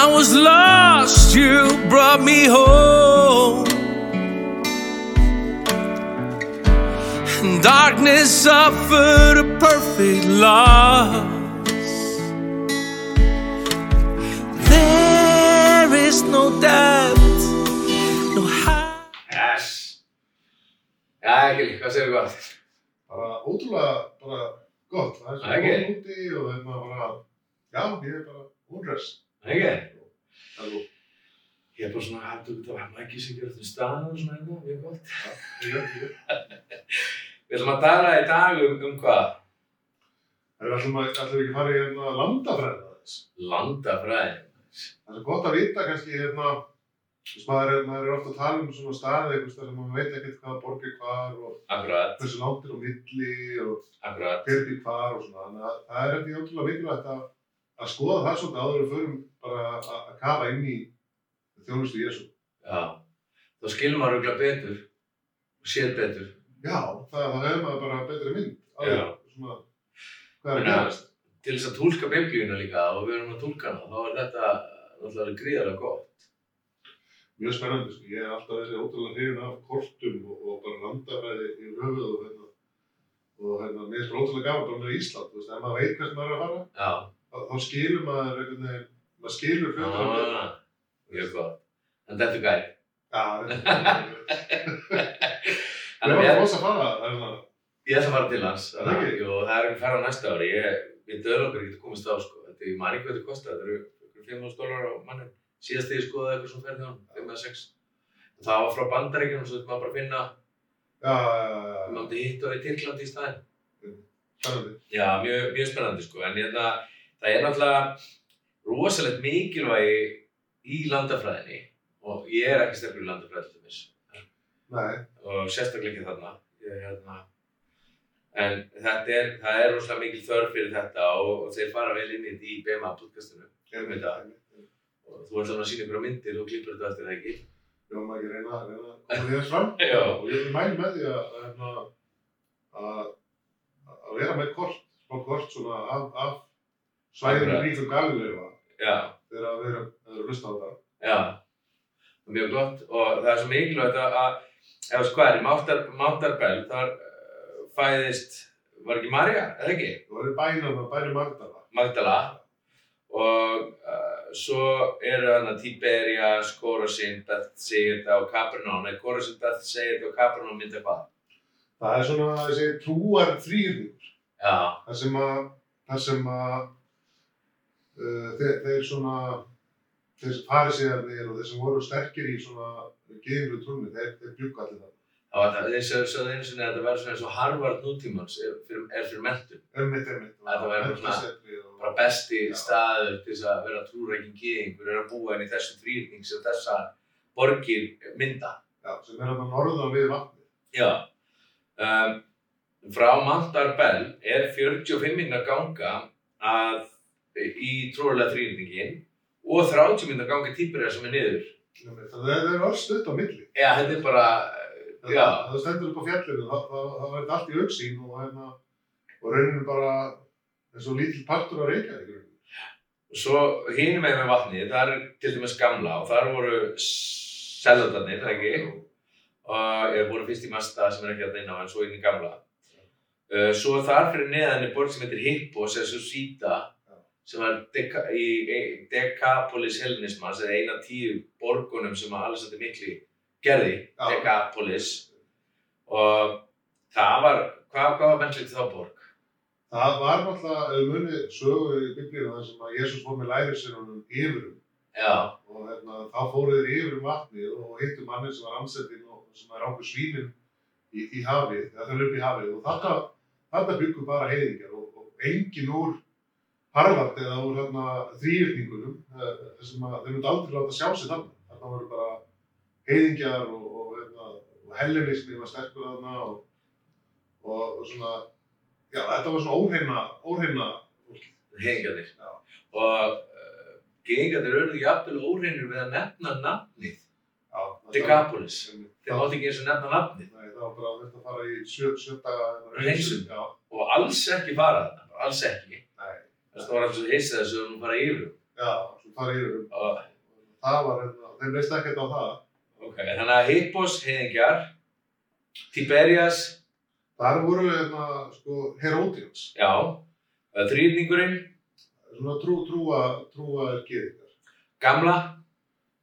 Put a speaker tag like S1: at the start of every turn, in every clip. S1: I was lost, you brought me home. And darkness offered a perfect loss. There is no doubt, no high.
S2: Yes. Já, Gil, hvað segir við gott?
S3: bara ótrúlega bara gott það er svo
S2: Ok.
S3: okay. úti og hérna bara já, ég er bara ónress
S2: Ekki?
S3: það er nú-
S2: Ég er bara svona að hættu út af hann ekki sem gerir þetta stað og svona hérna, mjög gott.
S3: ég er ekki
S2: Við ætlum að dara í dag um, um hvað?
S3: það er alltaf ekki að fara í hérna landafræða þess
S2: Landafræði.
S3: það er svo gott að vita kannski hérna þess maður er, maður er ofta að tala um svona staði einhvers þar sem maður veit ekkert hvað borg er hvar og
S2: Akkurat,
S3: hversu langt er á milli og
S2: akkurat.
S3: hvernig er hvar og svona þannig að það er ekki ótrúlega mikilvægt að að skoða það svona áður og förum bara að- að kafa inn í þjónustu Jésu
S2: Já. Þá skilur maður auðvitað betur og sér betur.
S3: Já, það, það hefur maður bara betri mynd.
S2: Já.
S3: Alveg, svona, hvað er að
S2: Þannig að-
S3: gerast?
S2: Til þess að tólka biblíuna líka og við erum að tólka hana, þá er þetta náttúrulega gríðarlega gott.
S3: Mjög spennandi, sko. Ég er alltaf þessi ótrúlega hrifin af kortum og, og bara landafræði í höfuð og hérna. Og hérna, mér er bara ótrúlega gaman bara með Ísland, þú veist, ef maður veit hvert maður er að fara,
S2: Já.
S3: þá, þá skilur maður einhvern veginn, maður skilur hlutur af mér.
S2: Ah, Mjög gott. En þetta er gæri.
S3: Já, þetta er
S2: Þannig að
S3: bara
S2: ég,
S3: fórst að fara, hérna.
S2: ég ætla að fara til hans.
S3: Það er ekki?
S2: Jú, það er um ferð á næsta ári. Ég, við döðlangar getum komist á, sko. Þetta, ég man ekki hvað þetta kostar. Þetta eru ykkur 500 dólar á mannin. Síðast þegar ég skoðaði eitthvað svona ferð hjá hann, 5 eða 6. Það var frá bandaríkjum, svo þetta maður bara að finna,
S3: Já, já, já,
S2: við
S3: já,
S2: mátti hitt og í Tyrklandi í staðinn.
S3: spennandi.
S2: Já, mjög, mjög spennandi, sko. En ég, það, það er náttúrulega rosalegt mikilvægi í landafræðinni. Og ég er ekki sterkur í landafræði til þess.
S3: Nei,
S2: og sérstaklega ekki þarna. Ég, hérna. En þetta er, það er rosalega mikil þörf fyrir þetta og, og þeir fara vel inn í þetta í BMA podcastinu.
S3: ég
S2: Veit það. Og þú ert svona að sína ykkur myndir og klippur þetta eftir það ekki.
S3: Já, maður ekki reyna, reyna að koma því þess fram.
S2: Já.
S3: og ég mæli með því að að, hérna, að, að vera með kort, smá kort svona af, af svæðinu
S2: Akkurat.
S3: ríkum Galileifa
S2: Já,
S3: þegar að vera að hlusta á það.
S2: já. Það er Mjög gott og það er svo mikilvægt að, að eða sko hvað er, í Máttar, Máttarbell, þar uh, fæðist, var ekki Marja, eða ekki?
S3: Það var í bænum að bæri Magdala.
S2: Magdala og uh, svo eru hann að Tiberia, Skórasin, Bethsaida og Capernaum eða Skórasin, Bethsaida og Capernaum mynda hvað?
S3: Það er svona þessi trúar þrýður,
S2: Já,
S3: þar sem að, þar sem að uh, þeir, þeir svona, þeir sem farið og þeir sem voru sterkir í svona geðinu trúni, þeir, þeir bjuggu allir það.
S2: það var það, þeir sögðu sögðu einu sinni að þetta verður svona eins og Harvard nútímans er fyrir, er fyrir menntun
S3: Ömmit, ömmit.
S2: Þetta var eitthvað svona- bara besti staður til þess að vera trúrækin geðingur er að búa inn í þessum þrýrning sem þessa borgir mynda
S3: Já, sem er hann norðan við vatni.
S2: Já, um, frá Mantarbell er 45 minna ganga að, í trúarlega þrýringin og 30 minna ganga típurja sem er niður.
S3: Einmitt, Það er, það er örstuðt á milli.
S2: Já, þetta er bara,
S3: Það-
S2: já,
S3: Það það stendur upp á fjallinu, það, það, það verður allt í auksín og, hérna, og rauninu bara eins og lítill partur að reyka í rauninu.
S2: svo hinum með með vatni, það er til dæmis gamla og þar voru selðarnir, ekki? og ég voru fyrst í Masta sem er ekki að neina en svo inn í gamla uh, svo þar fyrir neðan er borg sem heitir Hippos eða Susita sem var Deca í, í Decapolis hellenismans eða eina af tíu borgunum sem að Alessandri Mikli gerði
S3: Já.
S2: Decapolis og það var hvað, hvað var mennslegt þá borg?
S3: Það var náttúrulega, ef muni, sögu í biblíuna þar sem að Jésús fór með um læri sér honum yfirum
S2: Já,
S3: og hérna, þá fóru þeir yfirum vatni og hittu mannin sem var ansettinn og sem var ákveð svínin í, í hafið, þegar þau eru upp í hafið og þetta, þetta byggur bara heiðingar og, og engin úr harfart eða úr hérna, þrýrningunum sem að þau myndu aldrei láta sjá sig þarna. Þarna voru bara heiðingjar og, og, hérna, og hellinismi var sterkur þarna og, og, og svona, já þetta var svona óhreina, óhreina,
S2: heiðingarnir
S3: Já.
S2: og uh, geigingarnir örðu jafnvel óreinir við að nefna nafnið
S3: já,
S2: Decapolis þeir
S3: Það,
S2: mátti ekki eins og nefna nafnið
S3: Nei, það var bara að þetta fara í sjö, sjö daga hérna,
S2: Hreinsun.
S3: Já,
S2: og alls ekki fara þarna, alls ekki.
S3: nei,
S2: Þess að það var alls og hissa þessu um að fara yfir.
S3: já, svo farið yfir um.
S2: Og,
S3: Það var hérna, þeim leist ekkert á það.
S2: ok, þannig að Hippos heiðingjar, Tiberias,
S3: Þar voru hérna, sko, Heródians,
S2: já, þrýrningurinn,
S3: svona trú, trúa, trúa geðingar.
S2: gamla,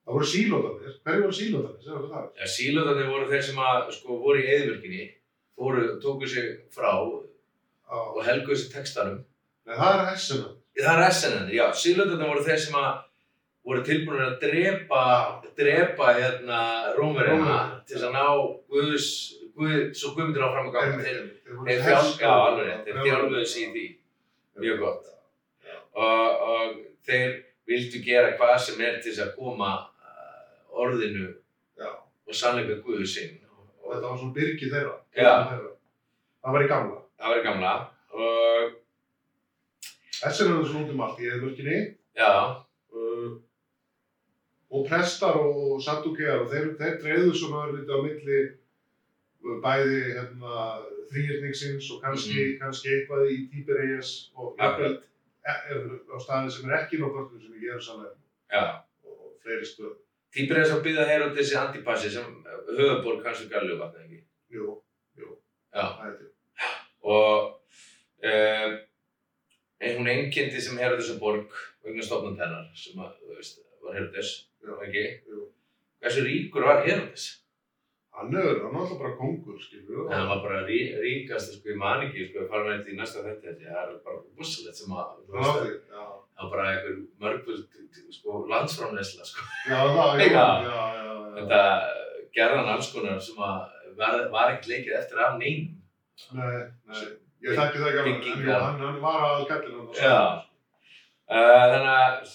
S3: Það voru sílótanir, hverju voru sílótanir, sem var það?
S2: ja, sílóðarnir voru þeir sem að, sko, voru í eðvirkinni, fóru, tóku sig frá og
S3: Á,
S2: helguðu sig textanum.
S3: nei, það er hessina.
S2: Það er SNN, já, sílóðarnir voru þeir sem að voru tilbúin að drepa, drepa hérna rómverina
S3: Rómverjana.
S2: til þess að ná Guðs, Guð, svo Guðmundur áfram að ganga. Þeir,
S3: voru
S2: þeir þjál,
S3: hestar.
S2: já, alveg rétt, þeir þjálfuðu sig í því. mjög gott. og, og þeir vildu gera hvað sem er til þess að koma uh, orðinu
S3: Já,
S2: og sannleika Guðu sinn.
S3: og þetta var svona byrgi þeirra.
S2: Já.
S3: Þeirra. Það var í gamla.
S2: Það var í gamla og
S3: Hessina var svona út um allt í eðvörkinni
S2: já,
S3: uh, og prestar og sattukegar og þeir, þeir dreifðu svona örlítið á milli uh, bæði hérna, þrýrningsins og kannski,
S2: Mhm.
S3: kannski eitthvað í Tíberejas og jafnvel e- e- á staði sem er ekki náttúrulega sem ég er sannlega
S2: já.
S3: og fleiri stöð.
S2: Týpir þess að byggða Herodes í Antipassi sem höfuborg kannski Gallu vatna ekki.
S3: Jú,
S2: Já.
S3: það er til.
S2: Og uh, en hún einkendi sem Herodes og borg vegna stofnand hennar sem að, þú veist, var Herodes,
S3: Já.
S2: ekki?
S3: Jú.
S2: Hversu ríkur var Herodes?
S3: Hann er, hann er alltaf bara kongur, skilur
S2: Það var bara rí, ríkast, sko, ég man ekki, sko, ég fara með þetta í næsta þetta, það er bara rosalegt sem að, þú
S3: Það
S2: veist,
S3: var þig, já.
S2: það var bara einhver mörgvöld, sko, landsframleysla, sko.
S3: Já, það, já,
S2: Já.
S3: já, já, já.
S2: Þetta gerði hann alls konar sem að var, var ekkert leikið eftir af neinum.
S3: Nei, nei, ég þekki það ekki alveg, en
S2: Bygging,
S3: jú,
S2: já.
S3: hann, hann var að gætla hann.
S2: Já. Uh, þannig að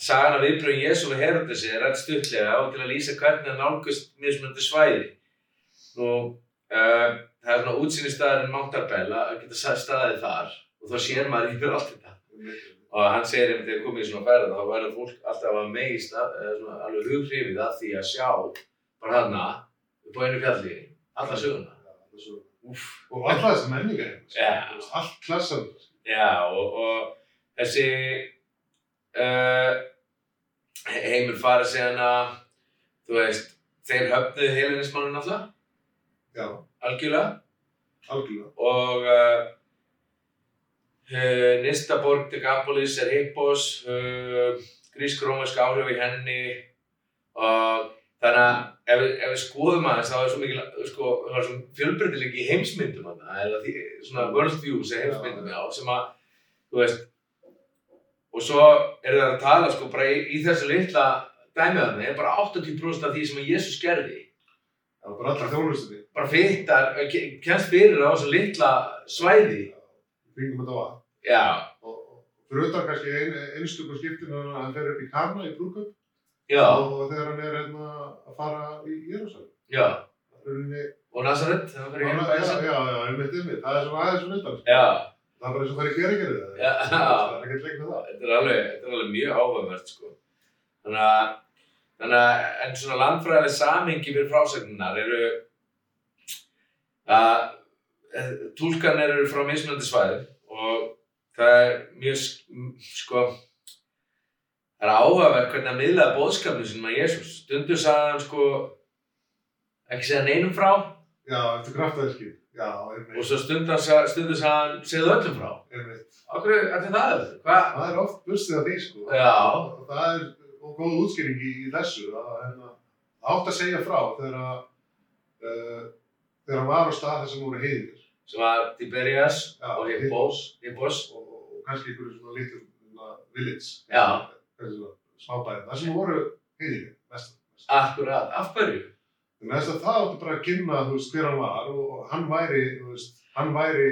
S2: sagan af viðbröðum Jésu við Herodesi er rætt stuttlega og til að lýsa hvernig hann nálgust mismunandi svæði. Nú, uh, það er svona útsýnistæðurinn Mountarbella að geta sa- staðið þar og þá sér maður yfir allt þetta. og hann segir einmitt þegar komið í svona ferð þá verður fólk alltaf að meist af- eða svona alveg hughrifið að því að sjá bara þarna upp á einu fjalli alla söguna
S3: Já, það er söguna.
S2: Úff.
S3: og alla þessa menninga
S2: Já.
S3: hérna, sko. allt klassan
S2: já og, og þessi uh, heimur fara síðan að þú veist þeir höfnuðu heilinismannin alltaf
S3: já,
S2: algjörlega
S3: algjörlega
S2: og uh, uh, nýsta borg Decapolis er Hippos, uh, grísk-rómversk áhrif í henni og þannig að ef, við- ef við skoðum aðeins þá er svo mikil, sko, það er svo fjölbreytilegi í heimsmyndum þarna, eða því, svona world views eða heimsmyndum já, sem að, þú veist, og svo er það að tala, sko, bara í, í þessu litla dæmiðan, er bara 80% af því sem að Jésús gerði,
S3: það var bara allra þjónustinni
S2: bara fyttar, kemst fyrir á þessu litla svæði,
S3: kringum þetta var
S2: Já,
S3: og og fyrir utan kannski ein, einstökum skiptin að hann fer upp í Karna í brúkup
S2: já,
S3: og þegar hann er hérna að fara í Jérúsal
S2: já.
S3: Rauninni,
S2: Og Nazareth, það
S3: já,
S2: fyrir hérna
S3: já,
S2: bæðið.
S3: já, einmitt, einmitt, það er svona aðeins svona utan. sko.
S2: Já,
S3: Það er bara eins og fara í geringarið.
S2: Já.
S3: Það er ekkert lengur það.
S2: þetta er alveg, þetta er alveg mjög áhugavert, sko. Þannig að, þannig að, en svona landfræðileg samhengi fyrir frásagnar eru að eh, túlkanir eru frá mismunandi svæðum og það er mjög, sk- m- sko, það er áhugavert hvernig að miðlaði bóðskapnum sinum að Jésús. Stundur sagði hann, sko, ekki segja neinum frá
S3: Já, eftir kraftaðiski. Já,
S2: og
S3: einmitt,
S2: svo stundur sagði hann, segðu öllum frá.
S3: einmitt.
S2: Akkur er þetta það öðru? Hvað?
S3: Það er oft bursið af því, sko.
S2: Já,
S3: og það er og góð útskýring í, í þessu að hérna, það átt að segja frá þegar að uh, þegar hann var á stað þar sem voru heiðir
S2: sem var Tiberias
S3: Já,
S2: og Hippos, Hippos,
S3: og, og, og kannski einhverju svona litlum svona village
S2: Já.
S3: kannski svona smábæðin þar sem voru heiðir mest
S2: akkurat, af hverju?
S3: þannig að þess að það átti bara að kynna þú veist hver hann var og, og hann væri þú veist hann væri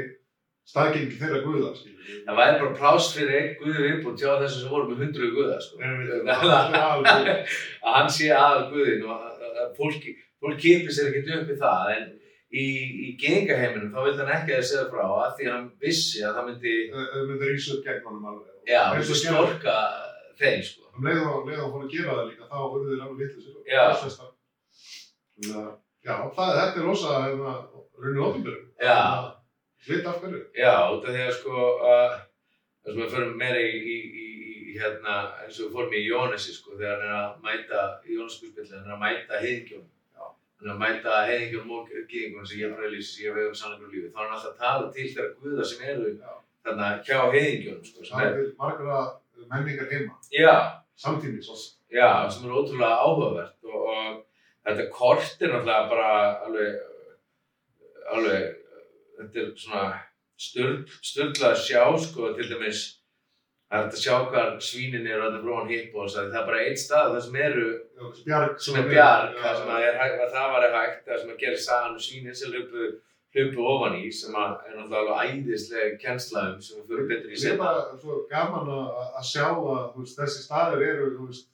S3: staðgengi þeirra guða skilur við.
S2: Það væri bara pláss fyrir einn guði viðbútt hjá þessum sem voru með hundruð guða, sko.
S3: En við-
S2: Að
S3: alveg-
S2: hann sé aðal guðin og að- að fólki, fólk kipir sér ekkert upp í það, en í, í gengaheiminum þá vildi hann ekki að segja frá að því hann vissi að það myndi,
S3: þau myndir rísa upp gegn honum alveg
S2: já,
S3: Eins og
S2: myndi
S3: gerði-
S2: storka þeim, sko.
S3: um leið og leið og fór að gera það líka þá voru þeir alveg vitlega sér
S2: Já.
S3: Þannig að, já, það, þetta er rosa hérna, rauninu ofinbjörn
S2: Já.
S3: Veit af hverju
S2: Já, út af því að sko, uh, það sem við förum meira í, í, í, í í hérna, eins og við fórum í Jónesi sko, þegar hann er að mæta í Jóneskuspilli, hann er að mæta heiðingjónum.
S3: Já.
S2: Hann er að mæta heiðingjónum og gíðingjónum sem ég bara lýsi, sem ég um vegum sannleikur og lífi. Þá er hann alltaf að tala til þeirra guða sem eru
S3: Já.
S2: þarna hjá heiðingjónum sko. sem
S3: Það
S2: Er,
S3: er til margra menningar heima,
S2: já,
S3: samtímis og
S2: já, sem er ótrúlega áhugavert og, og þetta kort er náttúrulega bara alveg, alveg, þetta er svona styrl, styrlað að sjá sko, til dæmis Það er hægt að sjá hvar svínin eru að það brúan hipp og það er bara einn stað það sem eru
S3: þessi bjarg.
S2: sem er bjarg,
S3: Já,
S2: það sem að, er, hægt- að það var hægt, það sem að gera sagan og svínin sem hlupu, hlupu ofan í, sem að er náttúrulega alveg æðislega kennslaðum sem við fyrir betur í
S3: Mér er
S2: setna.
S3: bara svo gaman að að sjá að þú veist, þessi staðir eru, þú veist,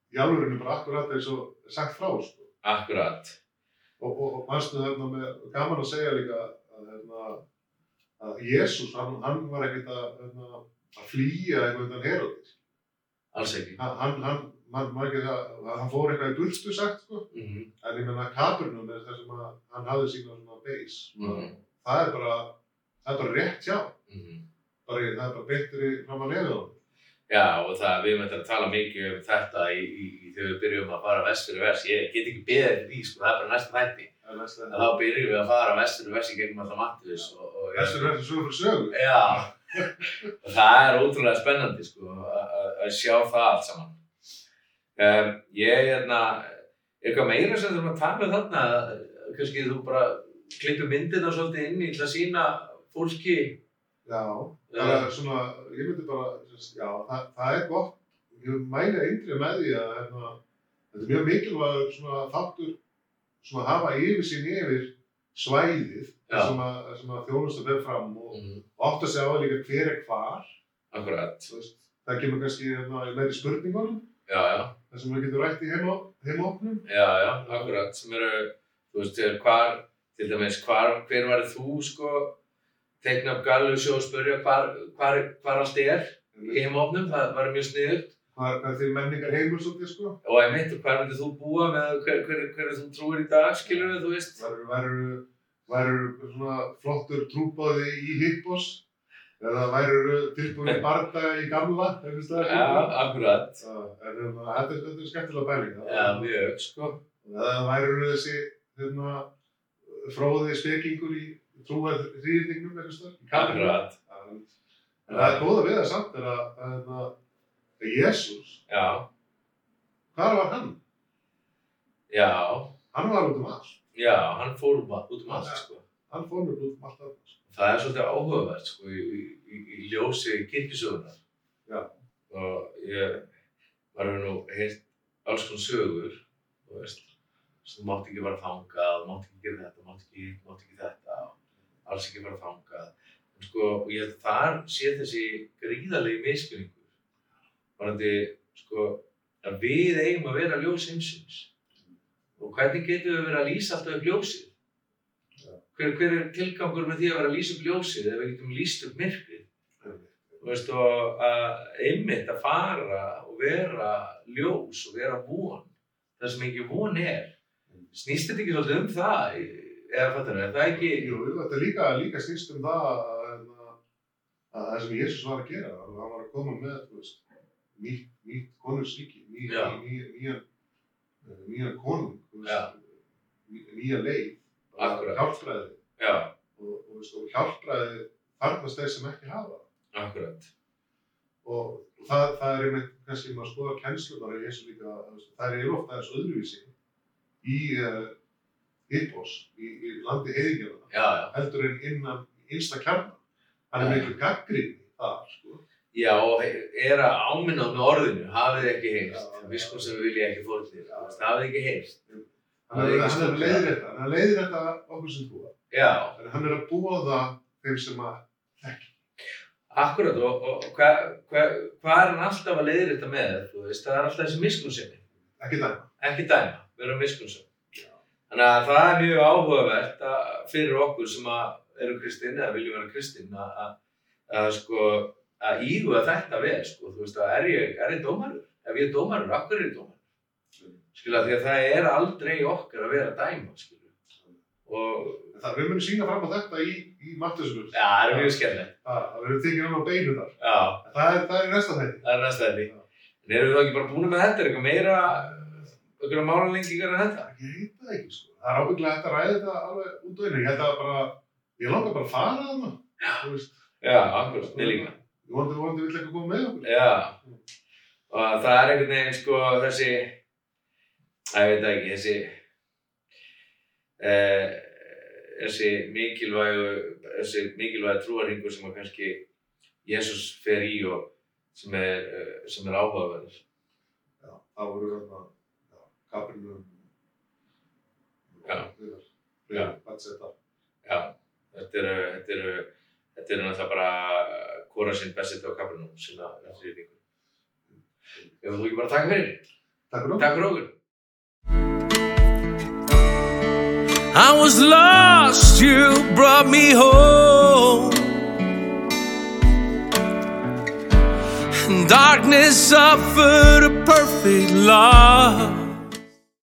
S3: í alvegurinu bara akkurat eins og sagt frá, sko.
S2: Akkurat.
S3: Og, og, og mannstu þarna með, gaman að segja líka að, hérna, að Jésús, hann, hann var ekkert að, hérna, að flýja einhvern veginn Herodis.
S2: Alls ekki.
S3: Hann, hann, hann, man, man ekki það, að hann fór eitthvað í burtu sagt, sko.
S2: Mhm.
S3: En ég menna Kapernum er það sem að hann hafði sína svona beis.
S2: Mhm.
S3: Það er bara, það er bara rétt hjá.
S2: Mhm.
S3: Bara, í- það er bara beintri fram að neða á hann.
S2: Já, og það, við möttum að tala mikið um þetta í, í, í, þegar við byrjum að fara vestur og vers. Ég get ekki beðið eftir því, sko, það er bara næsta þætti.
S3: Það er næst
S2: En þá byrjum við að fara vestur og vers í gegnum alltaf Mattiðis og, og
S3: Þessu verður svo fyrir sögu.
S2: Já, og það er ótrúlega spennandi sko, að- að að sjá það allt saman. Um, ég hérna, er eitthvað meira sem þurfum að tala um þarna, kannski þú bara klippir myndina svolítið inn í til að sína fólki.
S3: Já, það
S2: Uh,
S3: er svona, ég myndi bara, sérst, já, það, það er gott. Ég mæli eindrið með því að hérna, þetta er mjög mikilvægur svona þáttur svona að hafa yfir sín yfir svæðið
S2: Já.
S3: þar sem að, þar sem að þjónusta fer fram og átt að segja á líka hver er hvar.
S2: Mm, akkurat,
S3: Þú veist, það kemur kannski hérna, í meiri spurningunum,
S2: já, já,
S3: það sem við getum rætt í heimó- heimóknum.
S2: já, já, akkurat, sem eru, þú veist, til hvar, til dæmis, hvar, hver var þú, sko, teikna upp gallu sjó og spurja hvar, hvar, hvar allt er í heimofnum, það var mjög sniðugt.
S3: Hvað hvað er því menningar heimur svolítið, sko?
S2: og ég meinti hvað myndir þú búa með hver, hver, hver þú trúir í dag, skilur við, þú veist
S3: Verður, verður, verður svona flottur trúbóði í hippos eða verður tilbúin í barndaga í gamla, einhvers staðar.
S2: Já, akkurat
S3: Já, En um, þetta er þetta er skemmtilega bæling.
S2: Já, mjög, sko
S3: Eða verður þessi hérna, fróði spekingur í trúar þrýðningnum, einhvers staðar. í Kamerín.
S2: Akkurat,
S3: En en það er góða við það samt er að, að, að, að Jésús,
S2: já,
S3: hvar var hann?
S2: já
S3: Hann var út um allt.
S2: Já, hann fór um að- út um allt, sko
S3: Hann fór mér út um allt af þessu.
S2: Það er svolítið áhugavert, sko, í, í- í, í ljósi kirkjusögunar
S3: Já.
S2: Og ég var nú heilt alls konar sögur, þú veist sem mátti ekki fara þangað, mátti ekki gera þetta, mátti ekki, hitt, mátti ekki þetta og alls ekki fara þangað en sko, og ég held að þar sé þessi gríðalegi miskunningur varandi, sko að við eigum að vera ljós heimsins og hvernig getum við verið að lýsa alltaf upp ljósið hver, hver er tilgangur með því að vera að lýsa upp ljósið ef við getum lýst upp myrkrið Þú veist, og að einmitt að fara og vera ljós og vera von það sem ekki von er snýst þetta ekki svolítið um það eða fattar er það ekki
S3: Jú, jú, þetta er líka, líka snýst um það að, að, að það sem Jésús var að gera, að hann var að koma með, þú veist, nýtt, nýtt konursvíki, ný,
S2: Já.
S3: ný, nýjan, eh, nýjan konung,
S2: Já.
S3: þú veist, ný, nýja leið,
S2: Akkurat.
S3: hjálpræði
S2: já,
S3: og, og, veist, og hjálpræði þarnast þeir sem ekki hafa.
S2: akkurat
S3: Og það, það er einmitt, kannski maður skoða kennslunar í Jésús líka, að, þú veist, það er yfirloft aðeins öðruvísi í uh, Hippos, í, í landi heiðingjörðana
S2: já, já,
S3: heldur en innan innsta kjarna. Hann er
S2: Já.
S3: miklu gaggrín þar, sko.
S2: já, og er að áminna með orðinu hafið þið ekki heyrst
S3: Já,
S2: við sko
S3: já.
S2: sem við vilja ekki fórnir hafið þið ekki heyrst
S3: Hann
S2: Það er
S3: er,
S2: ekki
S3: hann er
S2: stórt,
S3: leiðir þetta, hann er leiðir þetta okkur sem búa.
S2: já,
S3: En hann er að búa það þeim sem að,
S2: Akkurat og, og hvað hva, hva er hann alltaf að leiðir þetta með þú veist, það er alltaf þessi miskunnsemi,
S3: ekki það,
S2: ekki dæma, vera miskunnsemi. Þannig að það er mjög áhugavert að, fyrir okkur sem að eru kristinn eða viljum vera kristinn að, að, að sko að íhuga þetta vel, sko, þú veist, að er ég, er ég dómarur? Ef ég er dómarur, af hverju er ég dómarur? Skilja, því að það er aldrei okkar að vera að dæma, skilja. Og
S3: en Það við munum sína fram á þetta í, í Mattisunum.
S2: Já, það er mjög skemmtilegt.
S3: Það verður tekið hann á beinu þar.
S2: Já,
S3: En Það er, það er næsta þætti.
S2: það er næsta þetta. En erum við þá ekki bara búin með þetta? Er eitthvað meira, eitthvað málanlengingar en þetta?
S3: Ég veit það ekki, sko. Það er ábygglega hægt að ræða þetta alveg út og inn. Ég held að bara, ég langar bara að fara þarna. Þú veist,
S2: Já, akkur, snillinga.
S3: ég vonandi, vonandi vill ekki koma með okkur.
S2: Já. Og það er einhvern veginn, sko, þessi, að ég veit það ekki, þessi, e, þessi mikilvægu, þessi mikilvægu trúarhingur sem að kannski Jésús fer í og sem er, eh, sem er áhugaverður.
S3: Já, það voru þarna, já, Kaprinu.
S2: Já.
S3: Já, Batsetta.
S2: Já, þetta eru, þetta eru, þetta eru náttúrulega bara kora sinn bestið á kaprinum sem að þessi ykkur. Ef þú ekki bara takk fyrir,
S3: Takk fyrir okkur.
S2: takk fyrir okkur.
S1: I was lost, you brought me home. Darkness suffered a perfect love.